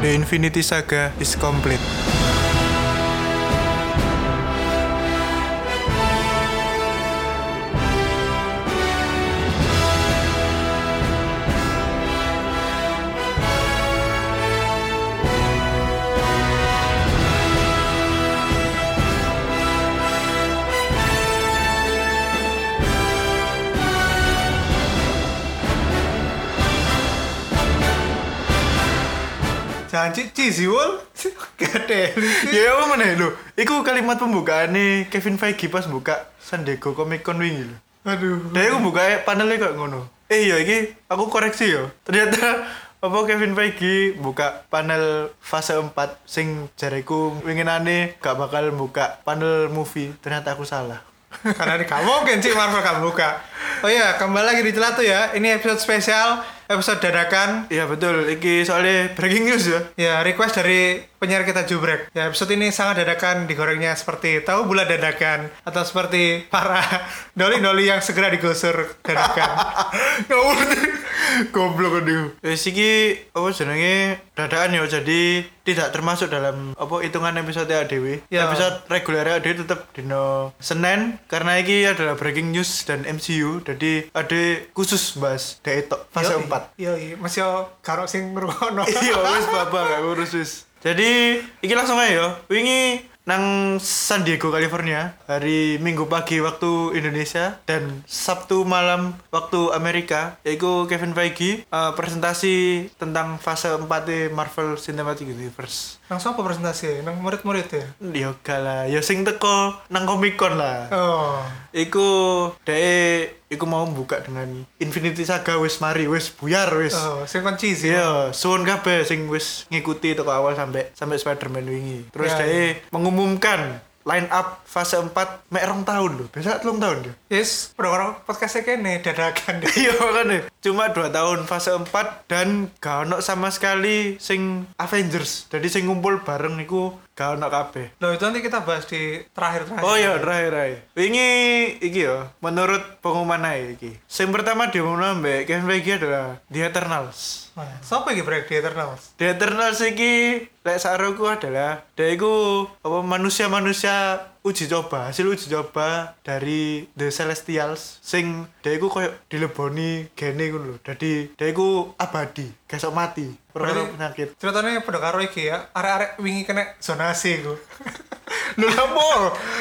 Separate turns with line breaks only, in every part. The Infinity Saga is complete.
Jangan cik Cisiwol. Gede.
ya apa meneh lho. Iku kalimat pembukaane Kevin Feige pas buka San Diego Comic Con wingi lho.
Aduh.
Dia aku buka panelnya kayak ngono. Eh iya iki aku koreksi yo. Ternyata apa Kevin Feige buka panel fase 4 sing jareku winginane gak bakal buka panel movie. Ternyata aku salah.
Karena ini gak mungkin cik Marvel gak buka. Oh iya, kembali lagi di Celatu ya. Ini episode spesial, episode dadakan.
Iya betul, iki soalnya breaking news ya.
Ya, request dari penyiar kita Jubrek. Ya, episode ini sangat dadakan digorengnya seperti tahu bulat dadakan atau seperti para doli-doli yang segera digusur dadakan.
Ngawur Goblok aduh. Wis iki apa jenenge dadaan yo jadi tidak termasuk dalam apa hitungan episode ADW.
Ya.
Episode reguler ADW tetap dino Senin karena iki adalah breaking news dan MCU. Jadi ada khusus bahas Daetok fase 4.
Iya, iya, masih karo sing ngrungokno.
iya wis babak gak ngurus wis jadi iki langsung aja yo wingi nang San Diego California hari Minggu pagi waktu Indonesia dan Sabtu malam waktu Amerika yaitu Kevin Feige eh, presentasi tentang fase 4 Marvel Cinematic Universe
Nang sapa presentasi? Nang murid-murid
Iya.
ya.
yo gak lah yo sing teko nang Comic Con lah
Oh.
iku dee iku mau buka dengan Infinity Saga wis mari wis buyar wis
Oh, sing kon cheesy.
Iya, suwun kabeh sing wis ngikuti toko awal sampai sampai Spider-Man wingi. Terus
Ya,
dia mengumumkan line up fase 4 mek rong tahun lho. Biasa telung tahun ya.
Yes, orang-orang podcastnya kene dadakan deh.
Iya kan ya. Cuma 2 tahun fase 4 dan gak ono sama sekali sing Avengers. Jadi sing ngumpul bareng niku gak ono kabeh.
Loh, itu nanti kita bahas di terakhir-terakhir.
Oh iya, terakhir ae. Wingi iki ya, menurut pengumuman ae iki. Sing pertama diumumno mbek Kevin Feige adalah The Eternals.
Nah, sapa iki break di Eternals?
The Eternals iki lek saroku adalah dia iku apa manusia-manusia uji coba, hasil uji coba dari The Celestials sing dia iku koyo dileboni gene ngono lho. Dadi dia iku abadi, kesok mati, perkara
Berarti-
penyakit.
Ceritanya pada karo iki ya, arek-arek wingi kena zonasi iku.
Lho lha apa?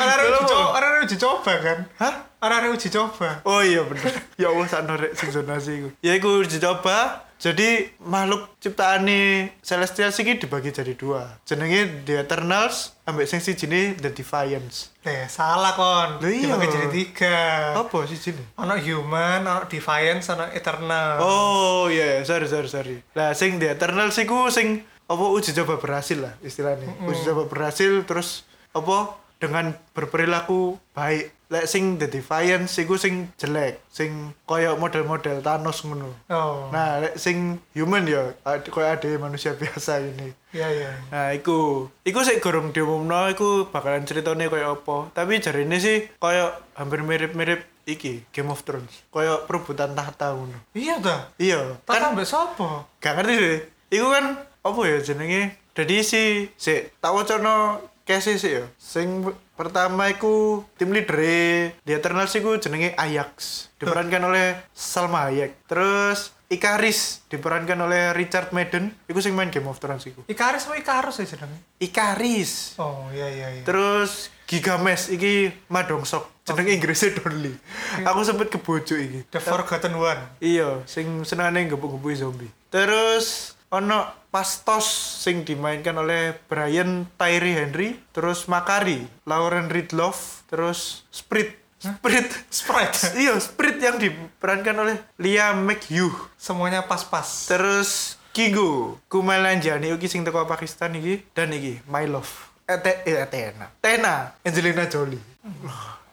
Arek-arek
Lho,
uji
apa?
coba, arek-arek uji coba kan?
Hah?
Arek-arek uji coba.
Oh iya bener. ya Allah sak norek sing zonasi iku. Ya iku dicoba. Jadi makhluk ciptaane Celestial iki dibagi jadi dua. Jenenge The Eternals ambek sing sijine The Defiance.
Eh, salah kon.
Loh, iya.
Dibagi jadi tiga.
Apa sijine?
Ono human, ono defiance, ono eternal.
Oh iya, iya. sorry sorry sorry. Lah sing di Eternal sih ku sing apa uji coba berhasil lah istilahnya. Uji coba berhasil terus apa dengan berperilaku baik. Lek sing The Defiance sih ku sing jelek, sing koyo model-model Thanos ngono.
Oh.
Nah, lek sing human ya ad- koyo ada manusia biasa ini.
Iya, iya.
Nah, iku. Iku sik gorong diumumno iku bakalan ceritane koyo apa. Tapi jarine sih koyo hampir mirip-mirip iki Game of Thrones. Koyo perebutan tahta ngono.
Iya dah.
Iya,
Tak
kan
sampe sapa?
gak ngerti sih. Iku kan apa ya jenenge? Jadi si si tak wacono kese sih ya. Sing p- pertama iku tim leader e. di Eternals iku jenenge Ajax, diperankan oleh Salma Hayek. Terus Ikaris diperankan oleh Richard Madden, iku sing main Game of Thrones iku.
Ikaris apa Ikarus ya jenenge?
Ikaris.
Oh, iya iya iya.
Terus Gigamesh iki Madongsok, jenenge Inggrisnya Donly. Aku sempet kebojo iki.
The Forgotten One.
Iya, sing senengane gebuk-gebuki zombie. Terus ono Pastos sing dimainkan oleh Brian Tyree Henry, terus Makari, Lauren Ridloff, terus Sprit. Sprit.
Sprite.
iya, Sprit yang diperankan oleh Lia McHugh.
Semuanya pas-pas.
Terus Kingo, Kumail Nanjiani iki sing teko Pakistan iki dan iki My Love. Ete, eh, Tena. Tena, Angelina Jolie.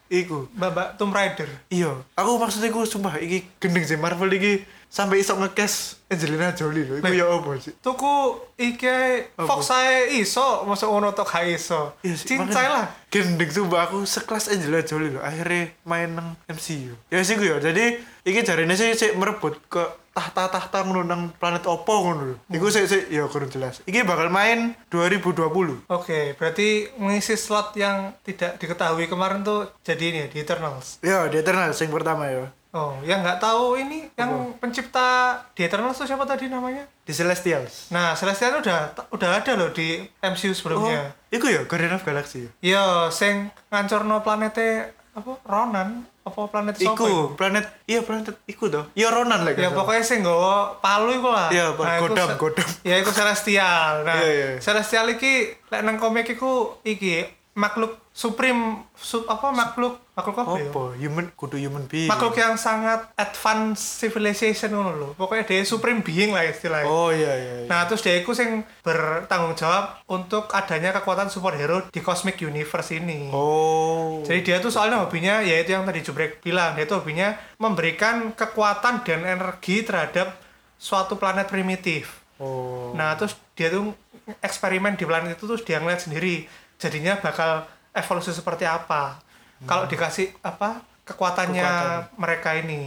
Iku.
Mbak-mbak Tomb Raider.
Iya, aku maksudnya aku sumpah iki gendeng sih Marvel iki sampai iso nge-cash Angelina Jolie lho. Iku
Lek.
ya apa sih?
Tuku iki
Apa?
Fox saya iso, masuk ngono tok gak iso.
Iya sih,
Cincai
makanya
lah.
Gendeng sumpah aku sekelas Angelina Jolie lho akhirnya main nang MCU. Ya sih gue ya. Jadi iki jarine sih sik merebut ke tahta-tahta ngono nang planet opo ngono lho. Iku sik sik ya kurang jelas. Iki bakal main 2020.
Oke, berarti mengisi slot yang tidak diketahui kemarin tuh jadi ini ya, di Eternals.
Ya, di Eternal sing pertama ya.
Oh, yang nggak tahu ini yang pencipta di Eternals tuh siapa tadi namanya?
Di Celestials.
Nah, Celestial udah udah ada loh di MCU
Oh,
sebelumnya.
iku ya Guardian of Galaxy. ya?
Iya, sing ngancorno planete apa Ronan apa planet sapa iku?
Iku, planet iya planet iku toh. Ya Ronan lagi.
Ya pokoknya sing nggawa palu iku lah. Nah,
Iya, Pak.
iku
Godam,
se-
Godam.
Ya iku celestial. Nah,
Iya, iya.
celestial iki lek nang komik iku iki makhluk supreme sup, apa makhluk makhluk apa ya?
opo human kudu human being.
Makhluk yang sangat advanced civilization ngono lho. Pokoknya dia supreme being lah istilahnya.
Oh iya iya. iya.
Nah, terus dia iku sing bertanggung jawab untuk adanya kekuatan superhero di Cosmic Universe ini.
oh.
Jadi dia tuh soalnya hobinya yaitu yang tadi Jubrek bilang, dia tuh hobinya memberikan kekuatan dan energi terhadap suatu planet primitif.
oh.
Nah, terus dia tuh eksperimen di planet itu terus dia ngeliat sendiri jadinya bakal evolusi seperti apa. Kalau dikasih apa kekuatannya
Hmm. Kekuatan. Hmm.
mereka ini.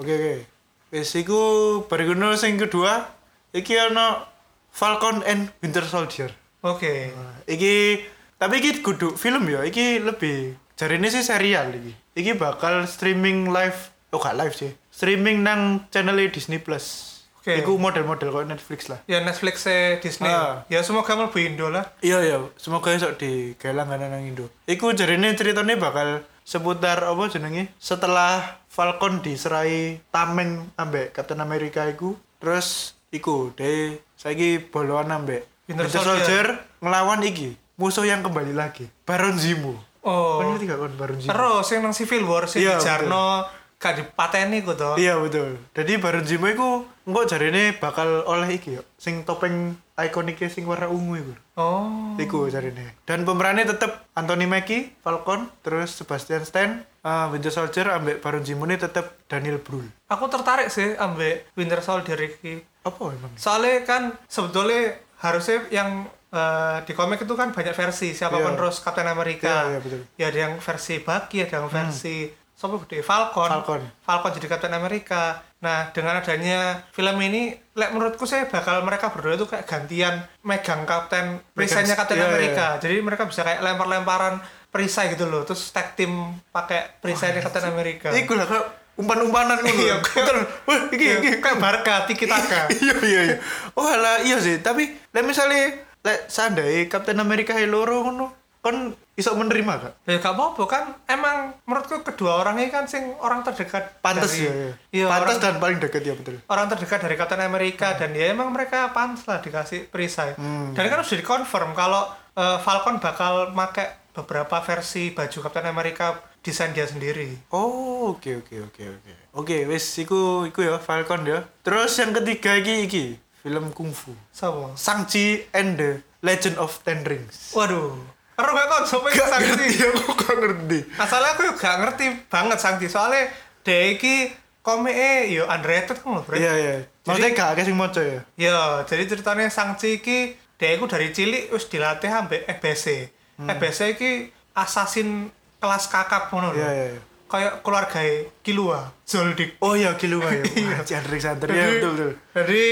Oke oke. Wis iku berguna sing kedua iki ana Falcon and Winter Soldier.
Oke.
Hmm. Iki tapi iki kudu film ya, iki lebih jarine sih serial iki. Iki bakal streaming live, oh gak live sih. Streaming nang channel Disney Plus.
Oke.
Iku model-model kok Netflix lah.
Ya Netflix Disney.
Ah.
Ya semoga mlebu Indo lah.
Iya iya, semoga esok di langganan nang Indo. Iku jarine ceritanya bakal seputar apa jenenge? Setelah Falcon diserai tameng ambek Captain America iku, terus iku de saiki boloan ambek
Winter
Winter,
Soldier.
Soldier. ngelawan iki musuh yang kembali lagi, Baron Zemo.
Oh.
Kan ngerti gak kon Baron Zemo?
Terus yang nang Civil War sing
Iya,
dijarno gak dipateni ku to.
Iya betul. Jadi Baron Zemo iku engko jarine bakal oleh iki yo, sing topeng ikoniknya sing warna ungu iku.
Oh.
Iku jarine. Dan pemerannya tetap Anthony Mackie, Falcon, terus Sebastian Stan, eh, Winter Soldier, ambek Baron Zemo ini tetap Daniel Brühl.
Aku tertarik sih ambek Winter Soldier iki.
Apa emang?
Soalnya kan sebetulnya harusnya yang eh, di komik itu kan banyak versi siapapun
Iya.
terus Captain
Iya,
America.
iya, betul. Hmm.
Ya ada yang versi Bucky, ada yang versi siapa gede? Falcon.
Falcon.
Falcon jadi Captain America. Nah, dengan adanya film ini, lek menurutku sih bakal mereka berdua itu kayak gantian megang Captain perisainya Captain
iya, iya.
America. Jadi mereka bisa kayak lempar-lemparan perisai gitu loh. Terus tag team pakai perisainya Captain America.
Iku lah kok umpan-umpanan ngono.
Iya,
Betul. Wah, iki
Iya,
iki.
kayak Barca, Tiki Taka.
Iya iya iya. Oh lah iya sih, tapi lek misale lek sandai Captain America loro ngono, kon iso menerima gak?
Ya gak apa-apa kan emang menurutku kedua orang ini kan sing orang terdekat
Pantes ya.
dari, Iya,
iya. Pantes Hmm.
orang,
dan paling deket ya betul.
orang terdekat dari Captain America dan ya emang mereka pantas lah dikasih perisai
Hmm.
dan kan sudah dikonfirm kalau eh, Falcon bakal make beberapa versi baju Captain America desain dia sendiri
Oh, oke oke oke oke. Oke, wis iku iku ya Falcon ya. Terus yang ketiga iki iki film kungfu.
sama
Shang-Chi and the Legend of Ten Rings.
waduh karo gak kon sampai
Gak
Shang-Chi.
ngerti Iya, aku gak ngerti.
Masalah aku gak ngerti banget Shang-Chi soalnya dia iki komiknya yo underrated kan loh Bre.
Iya iya. Maksudnya gak akeh sing maca ya.
Ya, jadi ceritanya Shang-Chi iki dia iku dari cilik wis dilatih ambek EBC.
Hmm.
EBC iki assassin kelas kakap ngono lho.
Iya iya. iya.
Kayak keluarga Kilua, Zoldyck.
Oh iya Kilua ya. Wah, Ten Rings Hunter ya
Jadi-
betul betul.
Jadi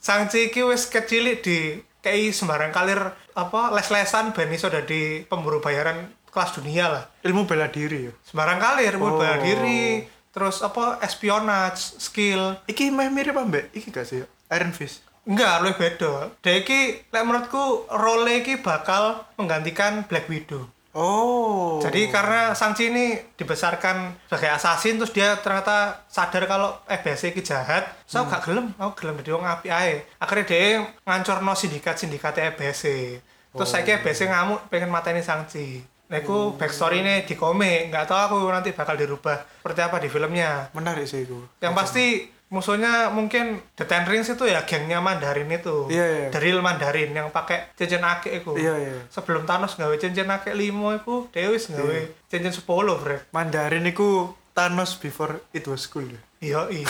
Shang-Chi iki wis kecilik di KI sembarang kalir apa les-lesan ben iso dadi pemburu bayaran kelas dunia lah.
Ilmu bela diri ya.
Sembarang kalir oh.
Oh.
bela diri, terus apa espionage, skill,
Iki meh mirip ambek iki gak sih? ya? Iron Fist.
Enggak, lebih beda. Dia iki, lek menurutku, role iki bakal menggantikan Black Widow.
Oh.
Jadi karena Shang-Chi ini dibesarkan sebagai assassin, terus dia ternyata sadar kalau FBC iki jahat. So, gak gelem, aku gelem jadi wong api ae. Akhirnya dia ngancorno sindikat-sindikat FBC. Terus saiki FBC ngamuk pengen mateni Shang-Chi. Nah, itu backstory ini di komik. Nggak tahu aku nanti bakal dirubah seperti apa di filmnya.
menarik sih iku.
Yang pasti musuhnya mungkin The Ten Rings itu ya gengnya Mandarin itu.
Iya, iya.
Dari Mandarin yang pakai cincin akik itu.
Iya, iya.
Sebelum Thanos nggawe cincin akik limo itu, Dewi nggawe cincin 10, Brek.
Mandarin iku Thanos before it was cool ya.
Iya, iya.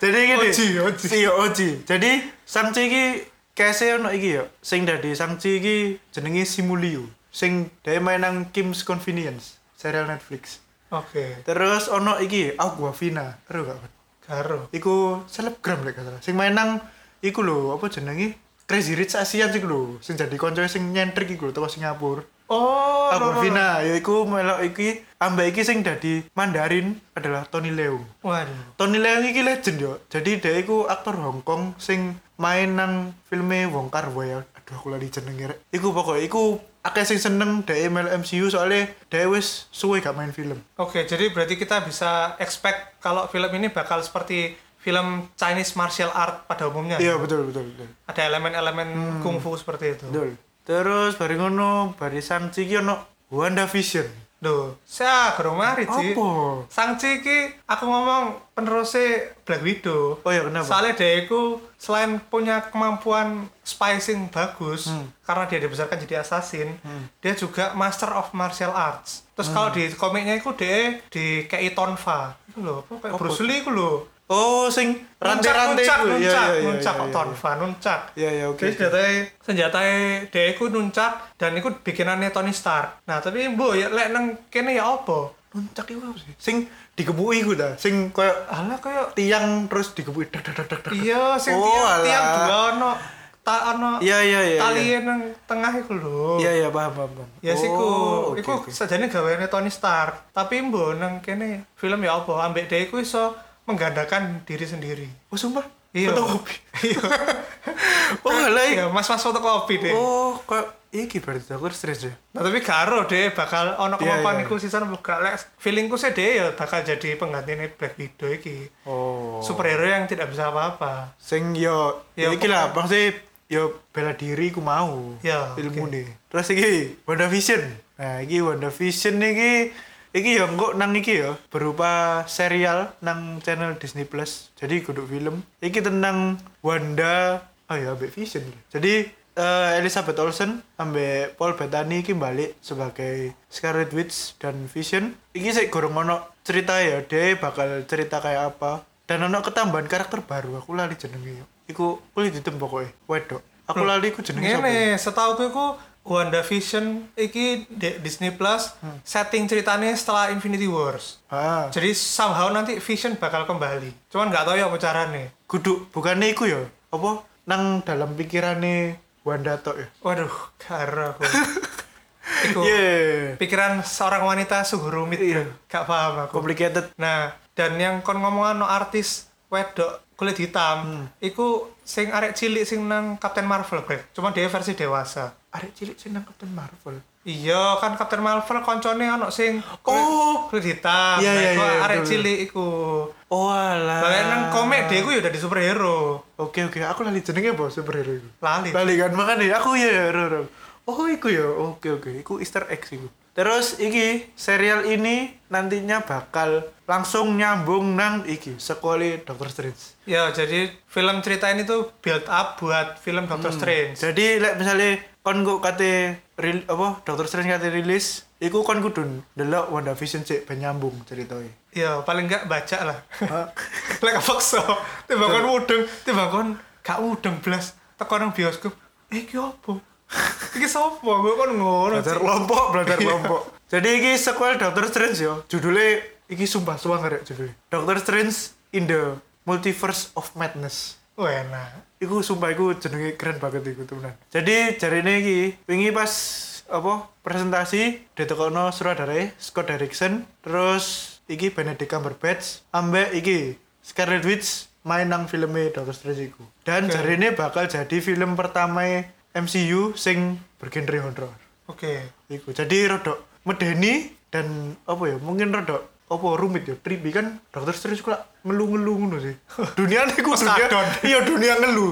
Jadi gini.
Oji, Oji.
Iya, Oji. Jadi Shang-Chi iki case ono iki ya. Sing dadi Shang-Chi iki jenenge Simuliu. Sing dhewe main nang Kim's Convenience, serial Netflix.
Oke.
Terus ono iki Aquafina. Ero gak? Pak?
Garo.
Iku selebgram lek gak salah. Sing main nang iku lho, apa jenenge? Crazy Rich Asian sing lho, sing jadi konco sing nyentrik iku lho teko Singapura.
Oh, ro, ro, ro.
Aquafina, ya iku melok iki ambek iki sing dadi Mandarin adalah Tony Leung.
Waduh.
Tony Leung iki legend yo. Jadi dia iku aktor Hong Kong sing main nang filme Wong Kar Wai. Aduh aku lali jenenge rek. Iku pokoknya iku akeh sing seneng dhek melu MCU soalnya dhek wis suwe gak main film.
Oke, jadi berarti kita bisa expect kalau film ini bakal seperti film Chinese martial art pada umumnya.
Iya Hmm. betul betul betul.
Ada elemen-elemen kungfu seperti itu.
Betul. Terus bari ngono bari Shang-Chi ki ono WandaVision.
Duh, saya gerung mari, Ci.
Apa?
Sangci ki aku ngomong penerusnya Black Widow.
Oh iya, kenapa?
Soalnya dia itu selain punya kemampuan spicing bagus
Hmm.
karena dia dibesarkan jadi assassin, dia juga master of martial arts. Terus
Hmm.
kalau di komiknya itu dia di kayak Tonfa. Itu loh, apa
Apa?
kayak Bruce Lee itu loh.
Oh sing rantai-rantai
nuncak,
iku. Iya,
nuncak,
iya, iya,
nuncak,
iya,
kok
iya.
Tonfa, nuncak.
Iya iya oke.
Jadi senjatae senjatae dia iku nuncak dan iku bikinannya Tony Stark. Nah, tapi mbok ya lek nang kene ya apa?
Nuncak iku apa sih? Sing digebuki iku ta. Sing koyo
Alah kayak
tiang terus digebuki dak dak dak dak, dak.
Iya, sing
Oh,
tiang, tiang
alah.
dua ono ta ono
Iya iya iya.
tali
iya.
nang tengah iku lho.
Iya iya paham paham. paham.
Ya sih ku,
Oh, oke,
iku
oke.
sajane gaweane Tony Stark. Tapi mbo nang kene film ya apa ambek dhewe iku iso menggandakan diri sendiri.
Oh sumpah.
Iya.
Fotokopi.
Iya.
Oh halai.
Ya mas-mas fotokopi deh.
Oh kok iki berarti aku stres ya.
Nah, tapi karo deh bakal
Iya,
ono kemampuan
iya.
iku sisan buka lek feelingku sih deh ya bakal jadi penggantine Black Widow iki.
Oh.
Superhero yang tidak bisa apa-apa.
Sing yo
Ya,
ya iki lah maksudnya yo bela diri ku mau.
Ya,
Ilmu nih. Terus iki WandaVision. Nah, iki WandaVision iki iki yo engko nang iki yo berupa serial nang channel Disney Plus. Jadi kudu film. Iki tentang Wanda oh ya ambek Vision. Jadi eh, Elizabeth Olsen ambek Paul Bettany iki balik sebagai Scarlet Witch dan Vision. Iki sik gorong ono cerita ya, dia bakal cerita kayak apa. Dan ono ketambahan karakter baru, aku lali jenenge. ya. Iku kulit hitam pokoknya, wedok. Aku lali ku jenenge sapa?
Ngene, setahu ku iku WandaVision iki di Disney Plus
Hmm.
setting ceritanya setelah Infinity Wars.
Ah,
Jadi somehow nanti Vision bakal kembali. Cuman nggak tahu ya apa carane.
kudu bukannya iku ya. Apa nang dalam pikirane Wanda tok ya. Iya.
Waduh, karo aku. Iku
Yeah.
pikiran seorang wanita sungguh rumit.
Iya.
Gak paham aku.
Complicated.
Nah, dan yang kon ngomongan no artis wedok kulit
Hmm.
hitam, iku sing arek cilik sing nang Captain Marvel, Brek. Cuma dia versi dewasa.
Arek cilik sing nang Captain Marvel.
Iya, kan Captain Marvel koncone ono sing kulit,
Oh.
kulit hitam.
Iya,
Nah,
iya,
iku
iya,
arek
betul.
cilik iku.
Oh alah.
Bahkan nang komik dia iku ya udah di superhero.
Oke oke, aku lali jenenge apa superhero iku?
Lali.
Lali kan makane aku ya. ro, ro. Oh iku ya. Oke oke, iku Easter egg iku. Terus iki serial ini nantinya bakal langsung nyambung nang iki sekolah Doctor Strange.
Ya, jadi film cerita ini tuh build up buat film Doctor Strange.
Hmm. Jadi lek misalnya kon kok kate ril, apa Doctor Strange kate rilis, iku kon kudu ndelok WandaVision sik ben nyambung ceritanya.
Ya, paling nggak baca lah.
Ah.
Lek kepaksa, tiba kon mudeng, tiba kon gak mudeng blas. Teko nang bioskop, eh iki opo? Iki sapa? Gue kon ngono.
belajar
Cik.
kelompok belajar kelompok jadi ini sequel Doctor Strange yo judulnya ini sumpah sumpah ngerek judulnya Doctor Strange in the Multiverse of Madness
Wah, Oh, enak.
Iku sumpah iku jenenge keren banget iku temenan. Jadi jarine iki wingi pas apa presentasi ditekokno sutradarae Scott Derrickson, terus iki Benedict Cumberbatch ambek iki Scarlet Witch main nang filmnya Doctor Strange iku. Dan
Oke.
jarine bakal jadi film pertama MCU sing bergenre horor.
Oke.
Iku. Jadi rodok medeni dan apa ya? Mungkin rodok apa rumit ya? Tribi kan dokter serius kok ngelu-ngelu ngono sih. Dunia niku
Mas
dunia.
Adon.
Iya, dunia ngelu.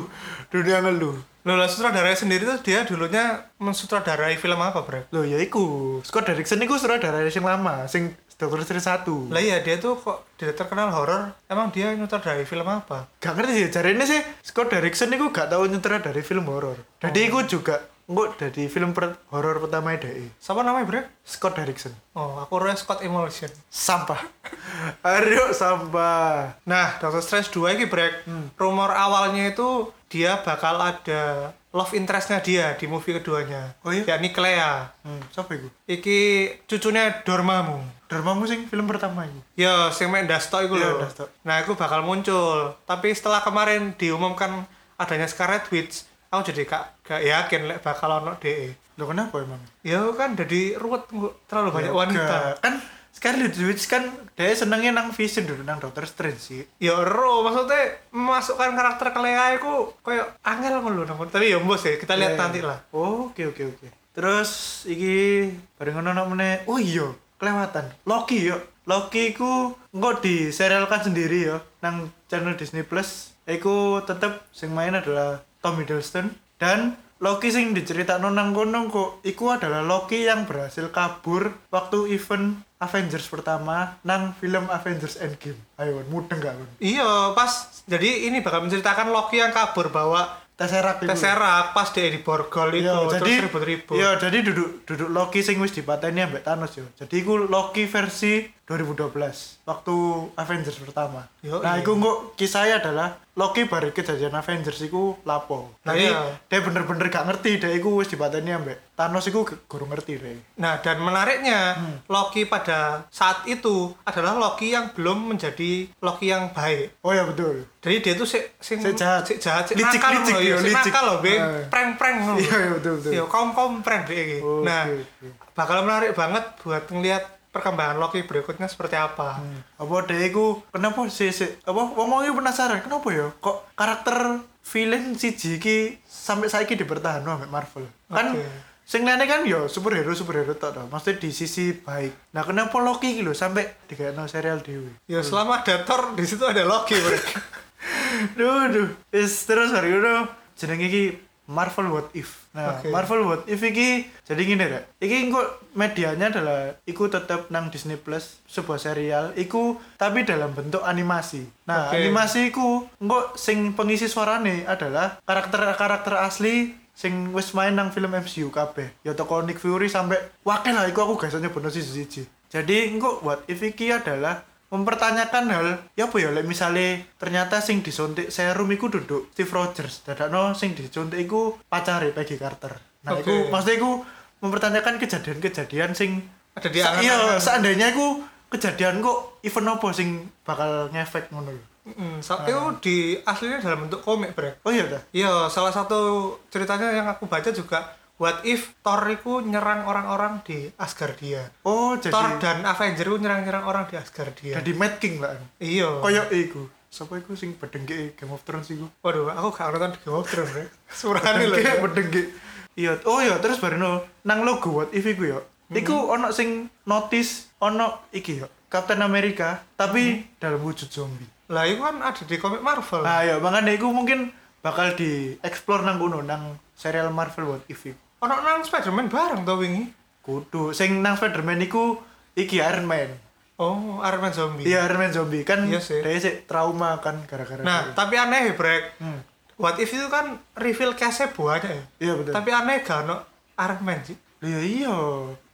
Dunia ngelu.
Loh, lah sutradaranya sendiri tuh dia dulunya mensutradarai film apa, Bro?
Loh ya iku. Scott Derrickson iku sutradara sing lama, sing Dokter Strange satu.
Lah iya, dia tuh kok direktur terkenal horor. Emang dia nyutradarai film apa?
Gak ngerti sih, cari ini sih Scott Derrickson itu gak tau nyetra dari film horor. Jadi aku juga Engko dari film per- horor pertama dhek.
Siapa namanya bre?
Scott Derrickson.
Oh, aku Roy Scott Emulsion.
Sampah. Ayo sampah.
Nah, Doctor Strange 2 ini break.
Hmm.
Rumor awalnya itu dia bakal ada love interestnya dia di movie keduanya.
Oh iya?
Yakni Clea.
Hmm, sapa iku?
Iki cucunya Dormammu.
Dermamu sing film pertama iku.
Ya, sing main Dasto itu
Iya,
loh.
Dasto.
Nah, itu bakal muncul. Tapi setelah kemarin diumumkan adanya Scarlet Witch, aku jadi gak, gak yakin lek bakal ono E. DE.
Lo kenapa emang?
Ya kan jadi ruwet nggo, terlalu banyak
Ya,
wanita.
gak. Kan Scarlet Witch kan dia senengnya nang Vision dulu nang Doctor Strange sih.
Ya ro, maksudnya memasukkan karakter Clea itu kayak angel ngono lho namun. Tapi ya mbos ya, kita lihat
Ya.
nanti lah.
Oh, oke oke oke. Terus iki bareng ngono nak meneh. Oh iya, kelewatan. Loki yo. Loki ku engko diserialkan sendiri yo nang channel Disney Plus. Iku tetep sing main adalah Tom Hiddleston dan Loki sing diceritakno nang kono kok iku adalah Loki yang berhasil kabur waktu event Avengers pertama nang film Avengers Endgame. Ayo, mudeng gak kon?
Iya, pas jadi ini bakal menceritakan Loki yang kabur bawa
Tesseract iku.
Tesseract pas dia di borgol itu
Iya,
terus
jadi
ribut-ribut.
Iya, jadi duduk duduk Loki sing wis dipateni ambek Thanos yo. Jadi iku Loki versi 2012 waktu Avengers pertama.
Yo,
nah,
iya.
iku kok kisahnya adalah Loki baru kejadian Avengers iku lapo.
Nah,
Jadi
iya.
dia bener-bener gak ngerti dia iku wis dipateni ambek Thanos iku gurung ngerti deh.
Nah, dan menariknya
Hmm.
Loki pada saat itu adalah Loki yang belum menjadi Loki yang baik.
Oh ya betul.
Jadi dia tuh si, si,
Sik jahat.
si jahat, si
Licik,
nakal
licik,
loh,
iya,
ya, si
licik.
nakal loh, be,
Ah.
prank-prank loh.
Iya, iya, betul, betul.
Iya, kaum-kaum prank deh. iki.
Oke,
nah,
oke.
bakal menarik banget buat ngelihat perkembangan Loki berikutnya seperti apa.
Hmm. Apa dia iku kenapa sih sih apa ngomongnya penasaran kenapa ya kok karakter villain siji iki sampai saiki dipertahankan no, ambek Marvel. Kan
Oke.
sing lainnya kan ya superhero superhero tak tau. Maksudnya di sisi baik. Nah kenapa Loki iki lho sampai digawe serial dewi.
Ya, selama ada Thor di situ ada Loki. bro.
duh duh Is, terus hari itu jeneng iki Marvel What If nah
Oke.
Marvel What If iki jadi gini rek iki engko medianya adalah iku tetap nang Disney Plus sebuah serial iku tapi dalam bentuk animasi nah
Oke.
animasi iku engko sing pengisi suarane adalah karakter-karakter asli sing wis main nang film MCU kabeh ya toko Nick Fury sampai wakil lah iku aku gak iso nyebutno siji-siji jadi engko What If iki adalah mempertanyakan hal ya apa ya like misalnya ternyata sing disuntik serum iku duduk Steve Rogers dadakno sing disuntik iku pacare Peggy Carter nah
Oke.
iku maksudnya iku mempertanyakan kejadian-kejadian sing
Ada di
Sa-
angan-angan.
iya seandainya iku kejadian kok event apa sing bakal ngefek ngono lho.
Mm, so,
Nah.
itu di aslinya dalam bentuk komik, bro.
oh iya dah
Iya, salah satu ceritanya yang aku baca juga What if Thor itu nyerang orang-orang di Asgardia.
oh jadi
Thor ya? dan Avenger itu nyerang-nyerang orang di Asgardia.
jadi Mad King lah
iya.
koyo iku sapa iku sing bedengke Game of Thrones iku
Waduh, aku gak nonton Game of Thrones, Rek. Surane lho.
bedengke bedengke iya oh iya terus barino nang logo what if iku yo iku ono sing notice ono iki yo Captain America tapi dalam wujud zombie
Lah, itu kan ada di komik Marvel.
nah ya makanya iku mungkin bakal di explore nang kono nang serial Marvel what if iku
Ono nang Spider-Man bareng to wingi.
kudu sing nang Spider-Man iku iki Iron Man
Oh, Iron Man zombie.
iya Iron Man zombie kan
Iya
dia
sih.
sih trauma kan gara-gara dia.
Nah, tapi aneh, Brek.
Hmm.
What if itu kan reveal case-nya banyak ya.
iya betul
Tapi aneh gak ono Iron Man sih.
iya iya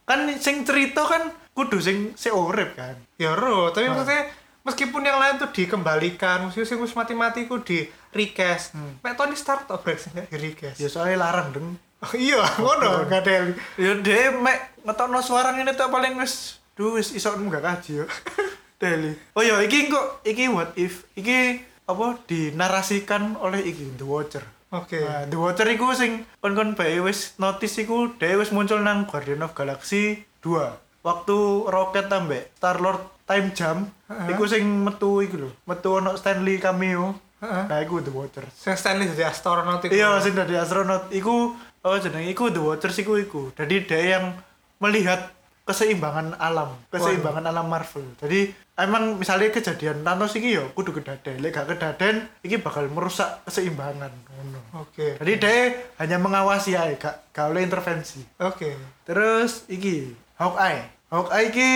kan sing cerita kan kudu sing si urip kan
Ya ro, tapi maksudnya meskipun yang lain tuh dikembalikan, meskipun sing wis mati-mati ku di recast.
Hmm.
Mek Tony Stark tok brek sing gak di recast.
ya soalnya larang deng
Oh, iya, ngono gak ada. yang-
Ya deh, mek ngetokno suara ngene tok paling wis duh wis iso enggak kaji yo. Deli. Oh ya, iki kok iki what if iki apa dinarasikan oleh iki The Watcher.
Oke.
Nah, The Watcher iku sing kon-kon bae wis notice iku dhewe wis muncul nang Guardian of Galaxy 2. Waktu Rocket ambek Star-Lord time jump,
Heeh.
iku sing metu iku lho, metu ono Stanley cameo.
Heeh.
Nah, iku The Watcher.
Sing Stanley jadi astronot itu.
Iya, sing dari astronot iku oh jenenge iku The Watchers iku iku. Jadi dia yang melihat keseimbangan alam, keseimbangan alam Marvel. Jadi emang misalnya kejadian Thanos iki yo kudu kedaden, lek gak kedaden iki bakal merusak keseimbangan ngono.
Oke.
Jadi dia hanya mengawasi ae, gak gak oleh intervensi.
Oke.
Terus iki Hawkeye. Hawkeye iki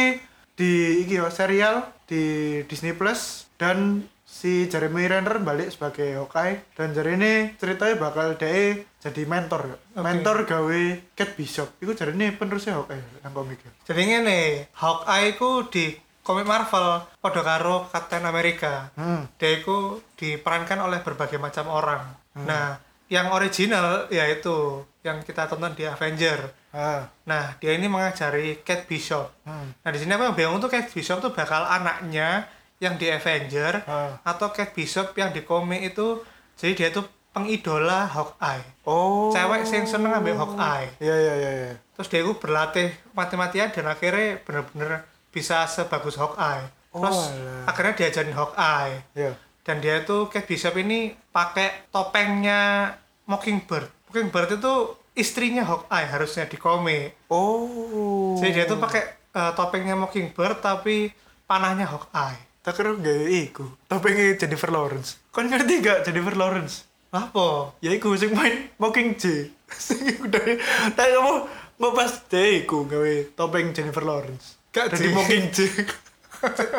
di iki yo serial di Disney Plus dan si Jeremy Renner balik sebagai Hawkeye dan jadi ini ceritanya bakal dia jadi mentor Kak.
Oke.
mentor gawe Cat Bishop itu jadi ini penerusnya Hawkeye yang komik
Jadi ngene, Hawkeye ku di komik Marvel padha karo Captain America.
hmm.
Dia itu diperankan oleh berbagai macam orang. Nah, yang original yaitu yang kita tonton di Avenger.
ah
Nah, dia ini mengajari Kate Bishop.
hmm.
Nah, di sini aku yang bingung tuh Kate Bishop tuh bakal anaknya yang di Avenger
Ah.
atau Kate Bishop yang di komik itu jadi dia tuh pengidola Hawkeye.
oh
Cewek sing seneng ambil Hawkeye.
iya iya iya iya.
Terus dia itu berlatih mati-matian dan akhirnya bener-bener bisa sebagus Hawkeye. Terus
Oh, alah.
akhirnya diajarin Hawkeye
iya
dan dia itu Kate Bishop ini pakai topengnya Mockingbird. Mockingbird itu istrinya Hawkeye harusnya di komik.
oh
Jadi dia itu pakai eh, topengnya Mockingbird tapi panahnya Hawkeye.
tak kira gawe iku topengnya Jennifer Lawrence kan ngerti gak Jennifer Lawrence
Apa?
ya iku sing main Mocking J sing iku dari tak kamu mau pas deh iku gawe topeng Jennifer Lawrence
Gak,
jadi
J.
Mocking J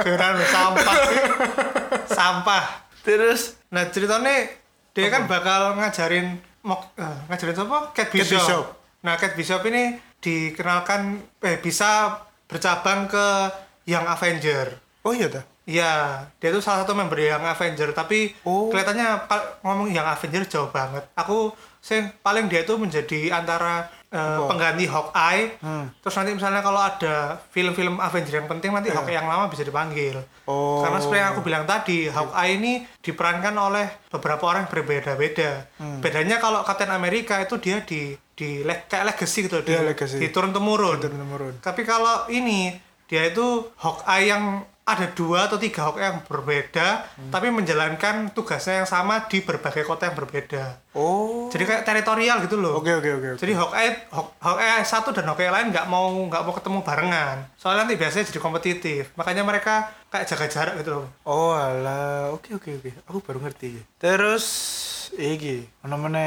Geran sampah. sampah.
terus
Nah, ceritanya dia kan bakal ngajarin Mock- eh, ngajarin siapa? Kate
Kate
Bishop.
Bishop.
Nah, Kate Bishop ini dikenalkan eh bisa bercabang ke Young Avenger.
oh iya dah
Iya, dia tuh salah satu member yang Avenger, tapi
Oh.
kelihatannya pa- ngomong yang Avenger jauh banget. Aku sih paling dia tuh menjadi antara eh, pengganti Hawkeye.
Hmm.
Terus nanti misalnya kalau ada film-film Avenger yang penting nanti Hawkeye yang lama bisa dipanggil.
Iya. Oh.
Karena seperti yang aku bilang tadi, Hawkeye ini diperankan oleh beberapa orang yang berbeda-beda.
Hmm.
Bedanya kalau Captain America itu dia di di le- kayak legacy gitu, di,
Iya, legacy.
di turun temurun.
turun temurun
Tapi kalau ini dia itu Hawkeye yang ada dua atau tiga Hawkeye yang berbeda,
Hmm.
tapi menjalankan tugasnya yang sama di berbagai kota yang berbeda.
oh
Jadi kayak teritorial gitu loh.
oke oke oke oke.
Jadi Hawkeye, Haw- Hawkeye satu dan Hawkeye lain nggak mau nggak mau ketemu barengan. Soalnya nanti biasanya jadi kompetitif. Makanya mereka kayak jaga jarak gitu loh.
oh ala oke oke oke aku baru ngerti terus iki mana mana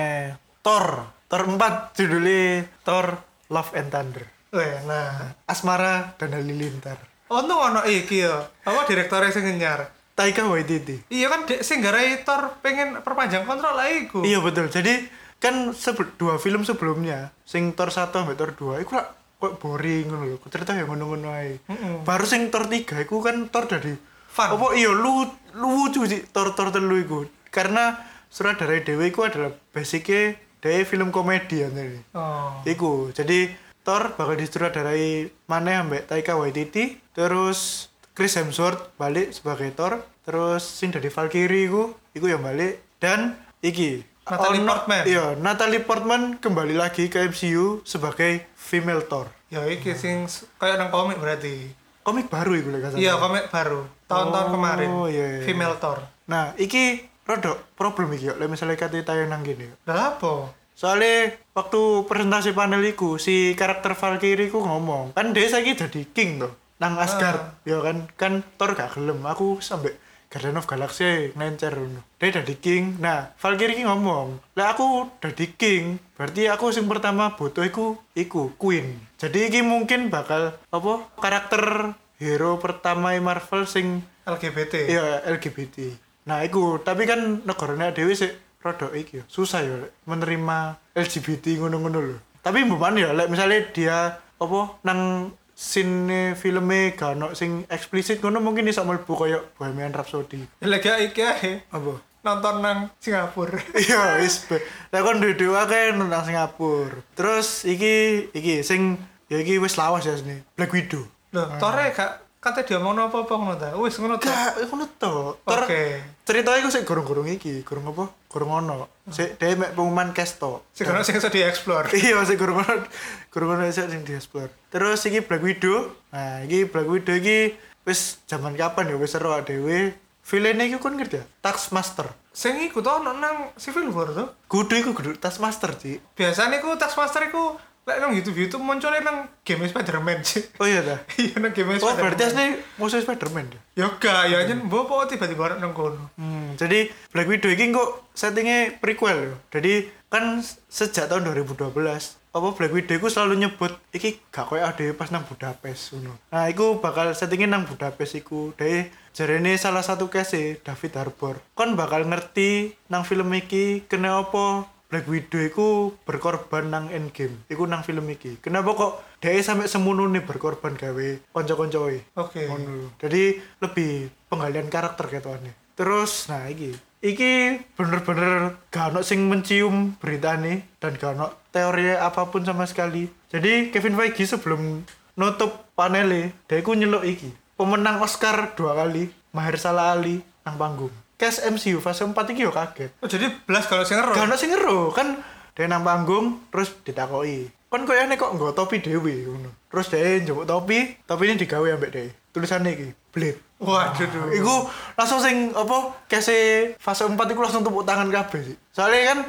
Thor Thor 4 judulnya Thor Love and Thunder
Weh, nah,
Asmara dan Halilintar
untung ono iki ya. Apa direktornya sing nyar?
Taika Waititi
Iya kan, dek sing garai Thor pengen perpanjang kontrak lah iku.
Iya betul. Jadi kan sebe- dua film sebelumnya, sing Thor 1 sampai Thor 2 iku lah kok boring ngono lho. Cerita yang ngono-ngono ae.
Mm-mm.
Baru sing Thor 3 iku kan Thor dari
Fun.
Apa iya lu lucu sih Thor Thor telu iku. Karena sutradara dhewe iku adalah basicnya dari film komedi anjir.
Oh.
Iku. Jadi Thor bakal disutradarai mana ambek Taika Waititi, terus Chris Hemsworth balik sebagai Thor, terus sing dari Valkyrie iku, iku yang balik dan iki
Natalie
ono-
Portman.
Iya, Natalie Portman kembali lagi ke MCU sebagai female Thor.
Ya iki sing s- kayak nang komik berarti.
Komik baru iku lek gak salah.
Iya, komik baru. Tahun-tahun
Oh,
kemarin.
iya, iya.
Female Thor.
Nah, iki rodok problem iki yo, lek misalnya kate tayangan gini. yo.
Lah apa?
Soalnya waktu presentasi panel iku si karakter Valkyrie ku ngomong, kan dia saiki jadi king tuh nang Asgard. Ya kan kan Thor gak gelem aku sampai Guardian of Galaxy nencer ngono. Dia jadi king. Nah, Valkyrie ki ngomong, "Lah aku jadi king, berarti aku sing pertama butuh iku iku queen." Jadi iki mungkin bakal apa karakter hero pertama Marvel sing
LGBT.
Iya LGBT. Nah, iku tapi kan negaranya dhewe sik rada iki ya, susah ya lek, menerima LGBT ngono-ngono lho. Tapi mbukan ya lek misalnya dia apa nang sini filmnya gak ono sing eksplisit ngono mungkin iso mlebu koyo Bohemian Rhapsody.
Lagi Ya, iki ae
Apa?
nonton nang Singapura.
Iya, wis. be. Lah kon dudu akeh nang Singapura. Terus iki iki sing ya iki wis lawas ya sini. Black Widow.
Loh, Thore gak kate dia mau apa-apa ngono ta. Wis ngono ta.
Gak, ngono to. Ah, Ter-
Oke.
ceritanya gue sih gorong-gorong iki gorong apa gorong ono sih dia mek pengumuman kesto
Sekarang sing iso dieksplor.
iya masih gorong ono gorong ono sih yang dieksplor terus iki Black Widow nah iki Black Widow iki wis zaman kapan ya wis seru dhewe villain iki kon ngerti ya Taskmaster
Sing iku to ono nang Civil War to.
kudu iku kudu Taskmaster sih
Biasane iku Taskmaster iku lek nang YouTube-YouTube munculnya nang game Spider-Man sih.
oh iya dah
Iya nang game
oh berarti
Spider-Man.
asli musuh Spider-Man ya
Ya gak, ya nyen mbok apa tiba-tiba ono nang kono.
Hmm, jadi Black Widow ini kok settingnya prequel loh. Jadi kan sejak tahun 2012 apa Black Widow iku selalu nyebut iki gak koyo ade pas nang Budapest ngono. Nah, iku bakal settingin nang Budapest iku. Dhewe jarene salah satu case David Harbour. Kon bakal ngerti nang film iki kena apa Black Widow iku berkorban nang Endgame. Iku nang film iki. Kenapa kok dhewe sampe semono nih berkorban gawe kanca-kancoe.
Oke.
Ngono. Jadi lebih penggalian karakter ketone. Terus nah iki iki bener-bener gak ono sing mencium berita nih dan gak ono teori apapun sama sekali. Jadi Kevin Feige sebelum nutup panele, dia ku nyeluk iki. Pemenang Oscar dua kali, Mahershala Ali nang panggung. Cast MCU fase 4 iki yo kaget.
Oh, jadi belas kalau sing
Gak
ngero.
ono sing ngero kan dia nang panggung terus ditakoki. Kan koyo nek kok nggo topi dhewe ngono. Terus dia njupuk topi, topi ini digawe ambek dhewe. Tulisannya iki, Blade.
Waduh. duh.
Iku langsung sing apa kese fase 4 iku langsung tepuk tangan kabeh sih. Soalnya kan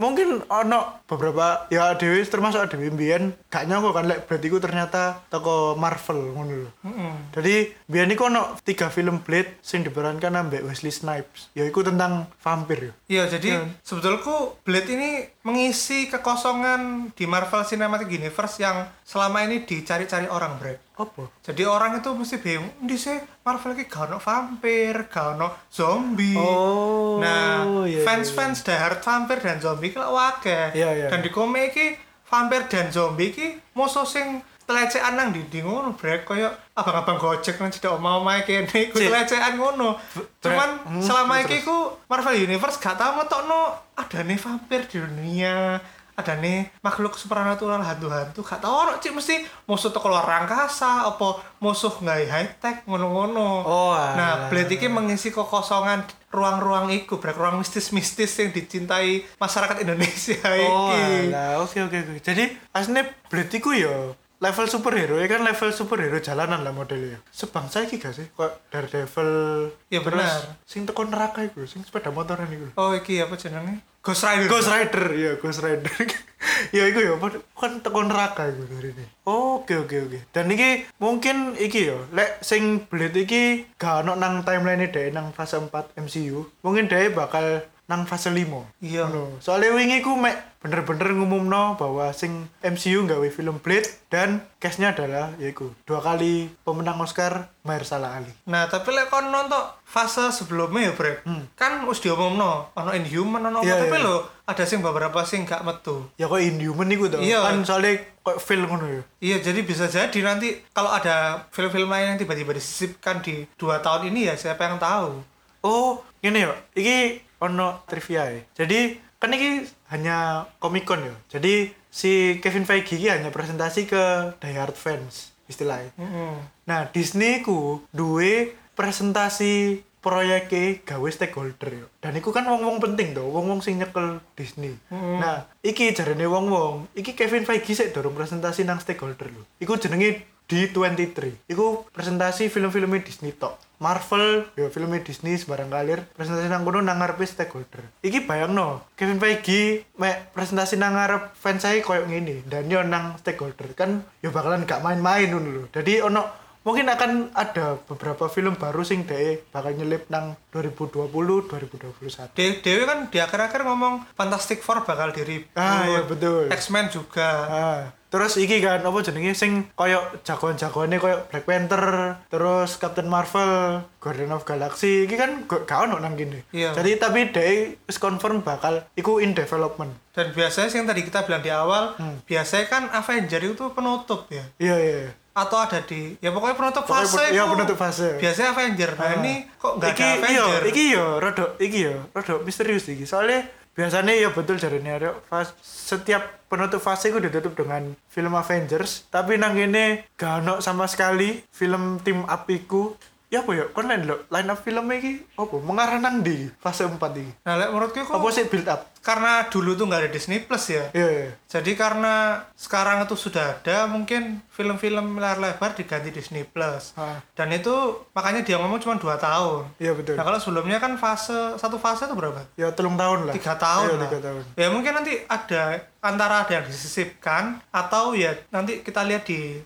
mungkin ono beberapa ya dewi termasuk dewi mbiyen gak nyangka kan lek Blade iku ternyata toko Marvel ngono lho.
Mm-mm.
Jadi mbiyen iku ono tiga film Blade sing diperankan ambek Wesley Snipes. Ya iku tentang vampir ya.
Iya, jadi sebetulku Blade ini mengisi kekosongan di Marvel Cinematic Universe yang selama ini dicari-cari orang, Bre.
Apa?
Jadi orang itu mesti bingung, di sih Marvel ini gak ono vampir, gak ono zombie.
Oh,
nah,
iya, iya,
fans-fans diehard vampir dan zombie kalau wakai.
Iya, iya.
Dan di komik ini vampir dan zombie ini musuh sing telecehan nang dinding ngono brek koyo abang-abang gojek nang cedok omah-omah kene iku
Cik.
telecehan ngono. Cuman
Hmm,
selama iki ku Marvel Universe gak tau metokno adane vampir di dunia, adane makhluk supranatural hantu-hantu gak tau ono cik mesti musuh teko luar angkasa apa musuh nggak high tech ngono-ngono.
Oh,
nah,
alah.
Blade iki mengisi kekosongan ruang-ruang iku, brek ruang mistis-mistis yang dicintai masyarakat Indonesia
Oh,
iki.
alah, oke oke oke. Jadi aslinya Blade iku ya level superhero ya kan level superhero jalanan lah modelnya. ya. Sebangsa iki gak sih? Kok Daredevil
Ya,
terus
benar.
Sing teko neraka iku, sing sepeda motoran iku.
Oh, iki apa jenenge? Ghost Rider.
Ghost Rider, ya Ghost Rider. ya iku ya apa- kan teko neraka iku dari ini. Oke oke oke. Dan iki mungkin iki ya, lek sing Blade iki gak ono nang timeline dhewe nang fase 4 MCU, mungkin dhewe bakal nang fase 5.
Iya.
Ngono. Soalnya wingi ku mek bener-bener ngumumno bahwa sing MCU nggawe film Blade dan case-nya adalah yaiku dua kali pemenang Oscar Mahershala Ali.
Nah, tapi lek kon nonton fase sebelumnya ya, Brek. Kan wis diomongno, ono Inhuman, ono
Hmm.
apa,
Iya,
tapi
iya.
lho ada sing beberapa sing gak metu.
Ya kok Inhuman iku to.
Iya.
Kan soalnya kok feel ngono ya.
Iya, jadi bisa jadi nanti kalau ada film-film lain yang tiba-tiba disisipkan di dua tahun ini ya siapa yang tahu.
Oh, gini ya. Iki ono trivia ya. Jadi kan iki hanya Comic Con ya. Jadi si Kevin Feige iki hanya presentasi ke diehard fans istilahnya. Nah, Disney ku duwe presentasi proyeke gawe stakeholder yo. Dan iku kan wong-wong penting to, wong-wong sing nyekel Disney. Nah, iki jarene wong-wong, iki Kevin Feige sik dorong presentasi nang stakeholder lho. Iku jenenge D23. Iku presentasi film-filmnya Disney tok. Marvel, ya filmnya Disney sembarang kalir, presentasi nang kono nang ngarepe stakeholder. Iki bayangno, Kevin Feige mek presentasi nang ngarep fans saya koyo ngene, dan yo nang stakeholder kan yo bakalan gak main-main ngono lho. Jadi ono mungkin akan ada beberapa film baru sing deh bakal nyelip nang 2020 2021
De Dewi kan di akhir-akhir ngomong Fantastic Four bakal di reboot.
Ah, iya, betul.
X-Men juga.
ah, terus iki kan apa jenenge sing koyok jagoan-jagoannya koyok Black Panther terus Captain Marvel Guardian of Galaxy iki kan gak gak ono nang kene
Iya.
jadi tapi deh wis confirm bakal iku in development
Dan biasanya yang tadi kita bilang di awal,
Hmm.
biasanya kan Avenger itu penutup ya.
iya iya iya.
Atau ada di ya pokoknya penutup
Pokoknya
fase.
pen- iya,
itu.
penutup fase. Ah.
Biasanya Avenger. Nah, ini kok nggak ada
iki iya
Avenger?
iki yo rodok iki yo rodok misterius iki soalnya biasanya ya betul jarene arek fas- setiap penutup fase itu ditutup dengan film Avengers tapi nang kene gak ono sama sekali film tim apiku ya apa ya kon lain lo line up film iki apa mengarah nang di fase 4 iki
Nah, lek menurutku kok
apa sih build up
karena dulu tuh nggak ada Disney Plus ya.
iya iya
Jadi karena sekarang itu sudah ada mungkin film-film layar lebar diganti Disney Plus.
Ah.
Dan itu makanya dia ngomong cuma 2 tahun.
iya betul
Nah, kalau sebelumnya kan fase satu fase itu berapa?
ya telung tahun lah
Tiga tahun,
Iya,
lah.
tiga tahun
Ya mungkin nanti ada antara ada yang disisipkan atau ya nanti kita lihat di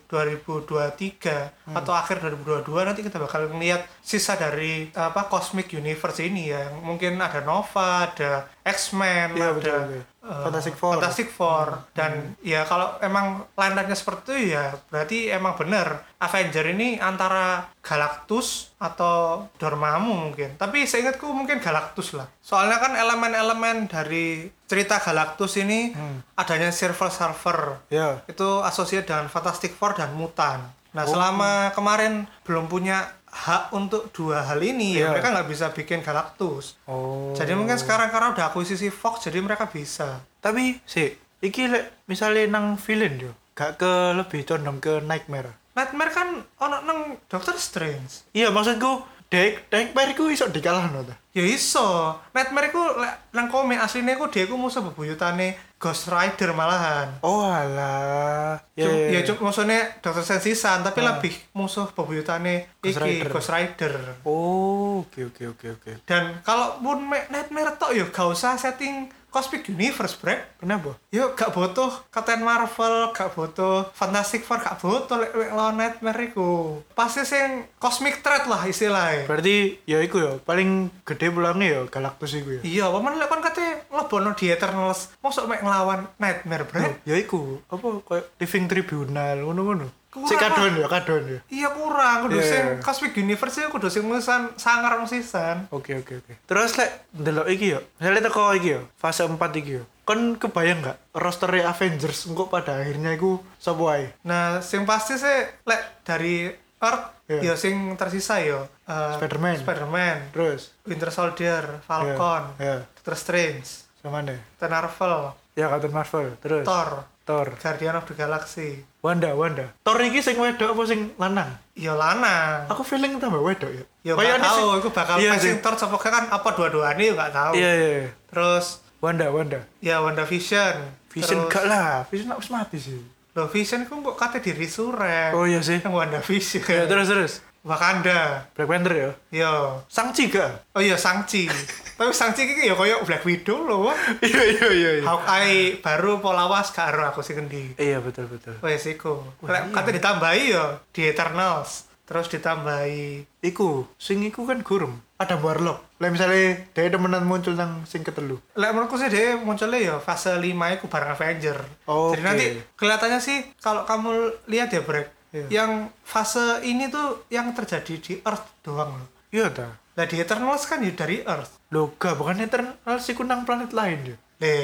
2023
Hmm.
atau akhir 2022 nanti kita bakal ngelihat sisa dari apa Cosmic Universe ini ya. Mungkin ada Nova, ada X-Men,
Iya,
ada
betul, betul.
eh,
Fantastic Four. Hmm.
Fantastic Four. dan ya kalau emang line-line-nya seperti itu ya berarti emang bener Avenger ini antara Galactus atau Dormammu mungkin. Tapi seingatku mungkin Galactus lah. Soalnya kan elemen-elemen dari cerita Galactus ini
Hmm.
adanya Silver Surfer
ya
itu asosiasi dengan Fantastic Four dan Mutan.
Oh.
Nah, selama kemarin belum punya hak untuk dua hal ini,
Iya.
ya mereka nggak bisa bikin Galactus.
oh
Jadi mungkin sekarang karena udah akuisisi Fox, jadi mereka bisa.
tapi sih iki lek misalnya nang villain yo gak ke lebih condong ke nightmare
Nightmare kan ono nang Doctor Strange.
iya maksudku dek nightmare ku iso dikalahno ta
Ya iso. Nightmare ku lek nang komik aslinya ku dia ku musuh bebuyutane Ghost Rider malahan.
oh alah
Cum- Ya cuma maksudnya Doctor Strange sisan, tapi lebih musuh bebuyutane
Ghost
iki
Rider.
Ghost Rider.
oh oke oke oke oke
Dan kalaupun me- Nightmare tok yo gak usah setting Cosmic Universe, Brek.
kenapa
Yo gak butuh Captain Marvel, gak butuh Fantastic Four, gak butuh lek lek lawan Nightmare iku. Pasti sing Cosmic Threat lah istilahnya.
berarti ya iku ya paling gede pulangnya ya galactus iku ya
Iya, paman lek kon kate lebono di Eternals, mosok mek nglawan Nightmare, Brek.
Loh, ya iku apa kayak living tribunal ngono-ngono
Kurang,
sik kadon
Pak.
ya kadon ya
Iya kurang, kudu
Iya.
sing Cosmic Universe iku kudu sing musisan sangar musisan.
Oke oke oke. Terus lek ndelok iki yo, misalnya teko iki yo, fase 4 iki yo. Kon kebayang nggak roster Avengers engko pada akhirnya iku sapa ae?
Nah, sing pasti sih lek dari Earth
Iya.
ya sing tersisa yo eh,
Spider-Man.
Spider-Man.
Terus
Winter Soldier, Falcon,
Iya, iya.
Doctor Strange,
sama nih.
Captain Marvel,
Ya Captain Marvel, terus Thor.
Thor, Guardian of the Galaxy.
Wanda, Wanda. Thor iki sing wedok apa sing lanang?
Yo lanang.
Aku feeling tambah wedok ya.
Yo
Kayaknya
gak tahu,
sing-
aku bakal
iya,
passing
sing-
Thor sapa kan apa dua-duanya yo gak tahu.
Iya iya. iya.
Terus
Wanda, Wanda.
ya WandaVision.
Vision
Terus,
gak lah, Vision harus mati sih.
Loh, Vision ku kok kate diri sore.
Oh iya sih.
Yang WandaVision.
Ya terus terus.
Wakanda.
Black Panther ya.
Yo.
Shang-Chi gak?
Oh iya Sangchi. Tapi Sangchi iki yo koyo Black Widow loh. wah.
Iya iya iya. iya.
Hawkeye baru polawas karo aku sih kendi.
Iya betul betul.
Wes iku.
Oh,
Lek
iya.
kate ditambahi yo di Eternals, terus ditambahi
Iku, sing iku kan gurem. Ada warlock. Lah misalnya dia temenan muncul nang sing ketelu.
Lek menurutku sih dia munculnya ya fase 5 iku bareng Avenger.
Oke.
Jadi nanti kelihatannya sih kalau kamu lihat ya Brek,
Iya.
yang fase ini tuh yang terjadi di Earth doang loh.
Iya ta.
Lah di Eternals kan ya dari Earth.
Loga bukan Eternal sih ku nang planet lain ya.
Le,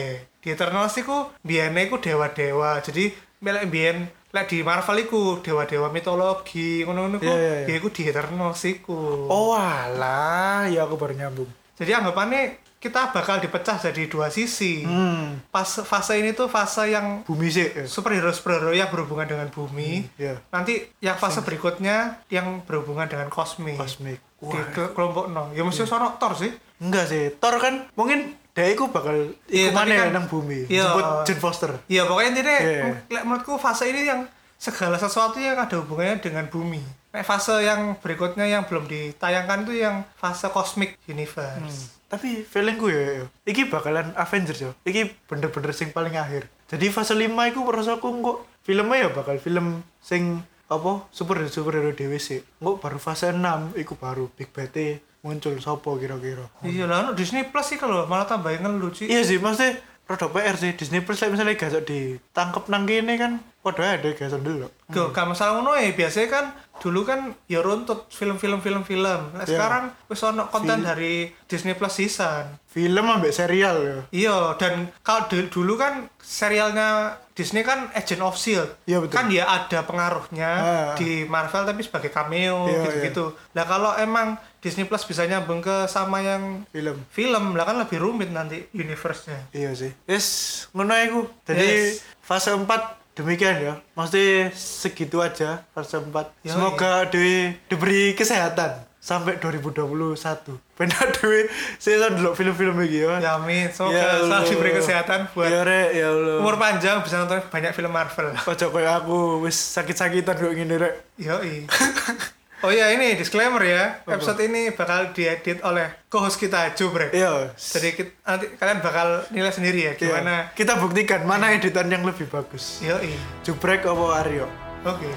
di Eternals iku biyene iku dewa-dewa. Jadi melek biyen lek di Marvel iku dewa-dewa mitologi ngono-ngono iku.
Iya, iya, iya.
ya iku di Eternals iku.
Oh alah, ya aku baru nyambung.
Jadi anggapannya kita bakal dipecah jadi dua sisi.
Hmm.
Pas fase ini tuh fase yang
Bumi sih. ya.
superhero superhero yang berhubungan dengan bumi.
Iya.
Nanti yang fase berikutnya yang berhubungan dengan kosmik.
Cosmic.
Di
Wah.
ke- kelompok no. Ya
Iya.
mesti sono Thor sih.
Enggak sih. Thor kan mungkin dia iku bakal
Iya,
iku
tapi
mana ya
kan-
nang bumi.
Iya.
Jemput Jane Foster.
Ya pokoknya intinya
Iya.
men- lek menurutku fase ini yang segala sesuatu yang ada hubungannya dengan bumi. Nek fase yang berikutnya yang belum ditayangkan tuh yang fase cosmic universe.
Tapi feeling gue ya, ya, iki bakalan Avengers ya. Iki bener-bener sing paling akhir. Jadi fase 5 iku perasaanku kok filmnya ya bakal film sing apa super superhero dewe sih. Kok baru fase 6 iku baru Big Bad muncul sopo kira-kira.
Iya lah, no, Disney Plus sih kalau malah tambahin ngelucu.
Hmm. Iya sih, maksudnya produk PR sih Disney Plus like, misalnya gak ditangkep nang kene kan padha ae ada gak dulu.
Gak, gak masalah ngono ya. Biasanya kan dulu kan ya runtut film-film film-film. Nah,
Iya.
sekarang wis ono konten
Fil-
dari Disney Plus season.
Film ambek serial ya.
Iya, dan kalau du- dulu kan serialnya Disney kan Agent of Shield.
Iya, betul.
Kan dia ada pengaruhnya
Ah.
di Marvel tapi sebagai cameo
Iya,
gitu-gitu. Nah, kalau emang Disney Plus bisa nyambung ke sama yang
Film.
film, lah kan lebih rumit nanti universe-nya.
Iya sih. Yes, ngono aku. Jadi
Yes.
fase 4 demikian ya. Maksudnya segitu aja fase 4.
Yoi.
Semoga di diberi kesehatan sampai 2021. Benar dewe season dulu film-film iki ya.
Ya amin, semoga
Ya Allah.
selalu diberi kesehatan buat
Ya Rek, ya Allah.
umur panjang bisa nonton banyak film Marvel.
Ojo koyo aku wis sakit-sakitan kok ngene rek.
Yoi. Oh ya ini disclaimer ya, episode ini bakal diedit oleh co-host kita Jubrek.
Iya.
Jadi kit- nanti kalian bakal nilai sendiri
iya.
ya gimana.
Kita buktikan mana editan yang lebih bagus.
Yoi.
Jubrek apa Aryo?
Oke.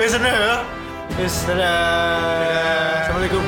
Wis bener ya. Wis dadah. Assalamualaikum.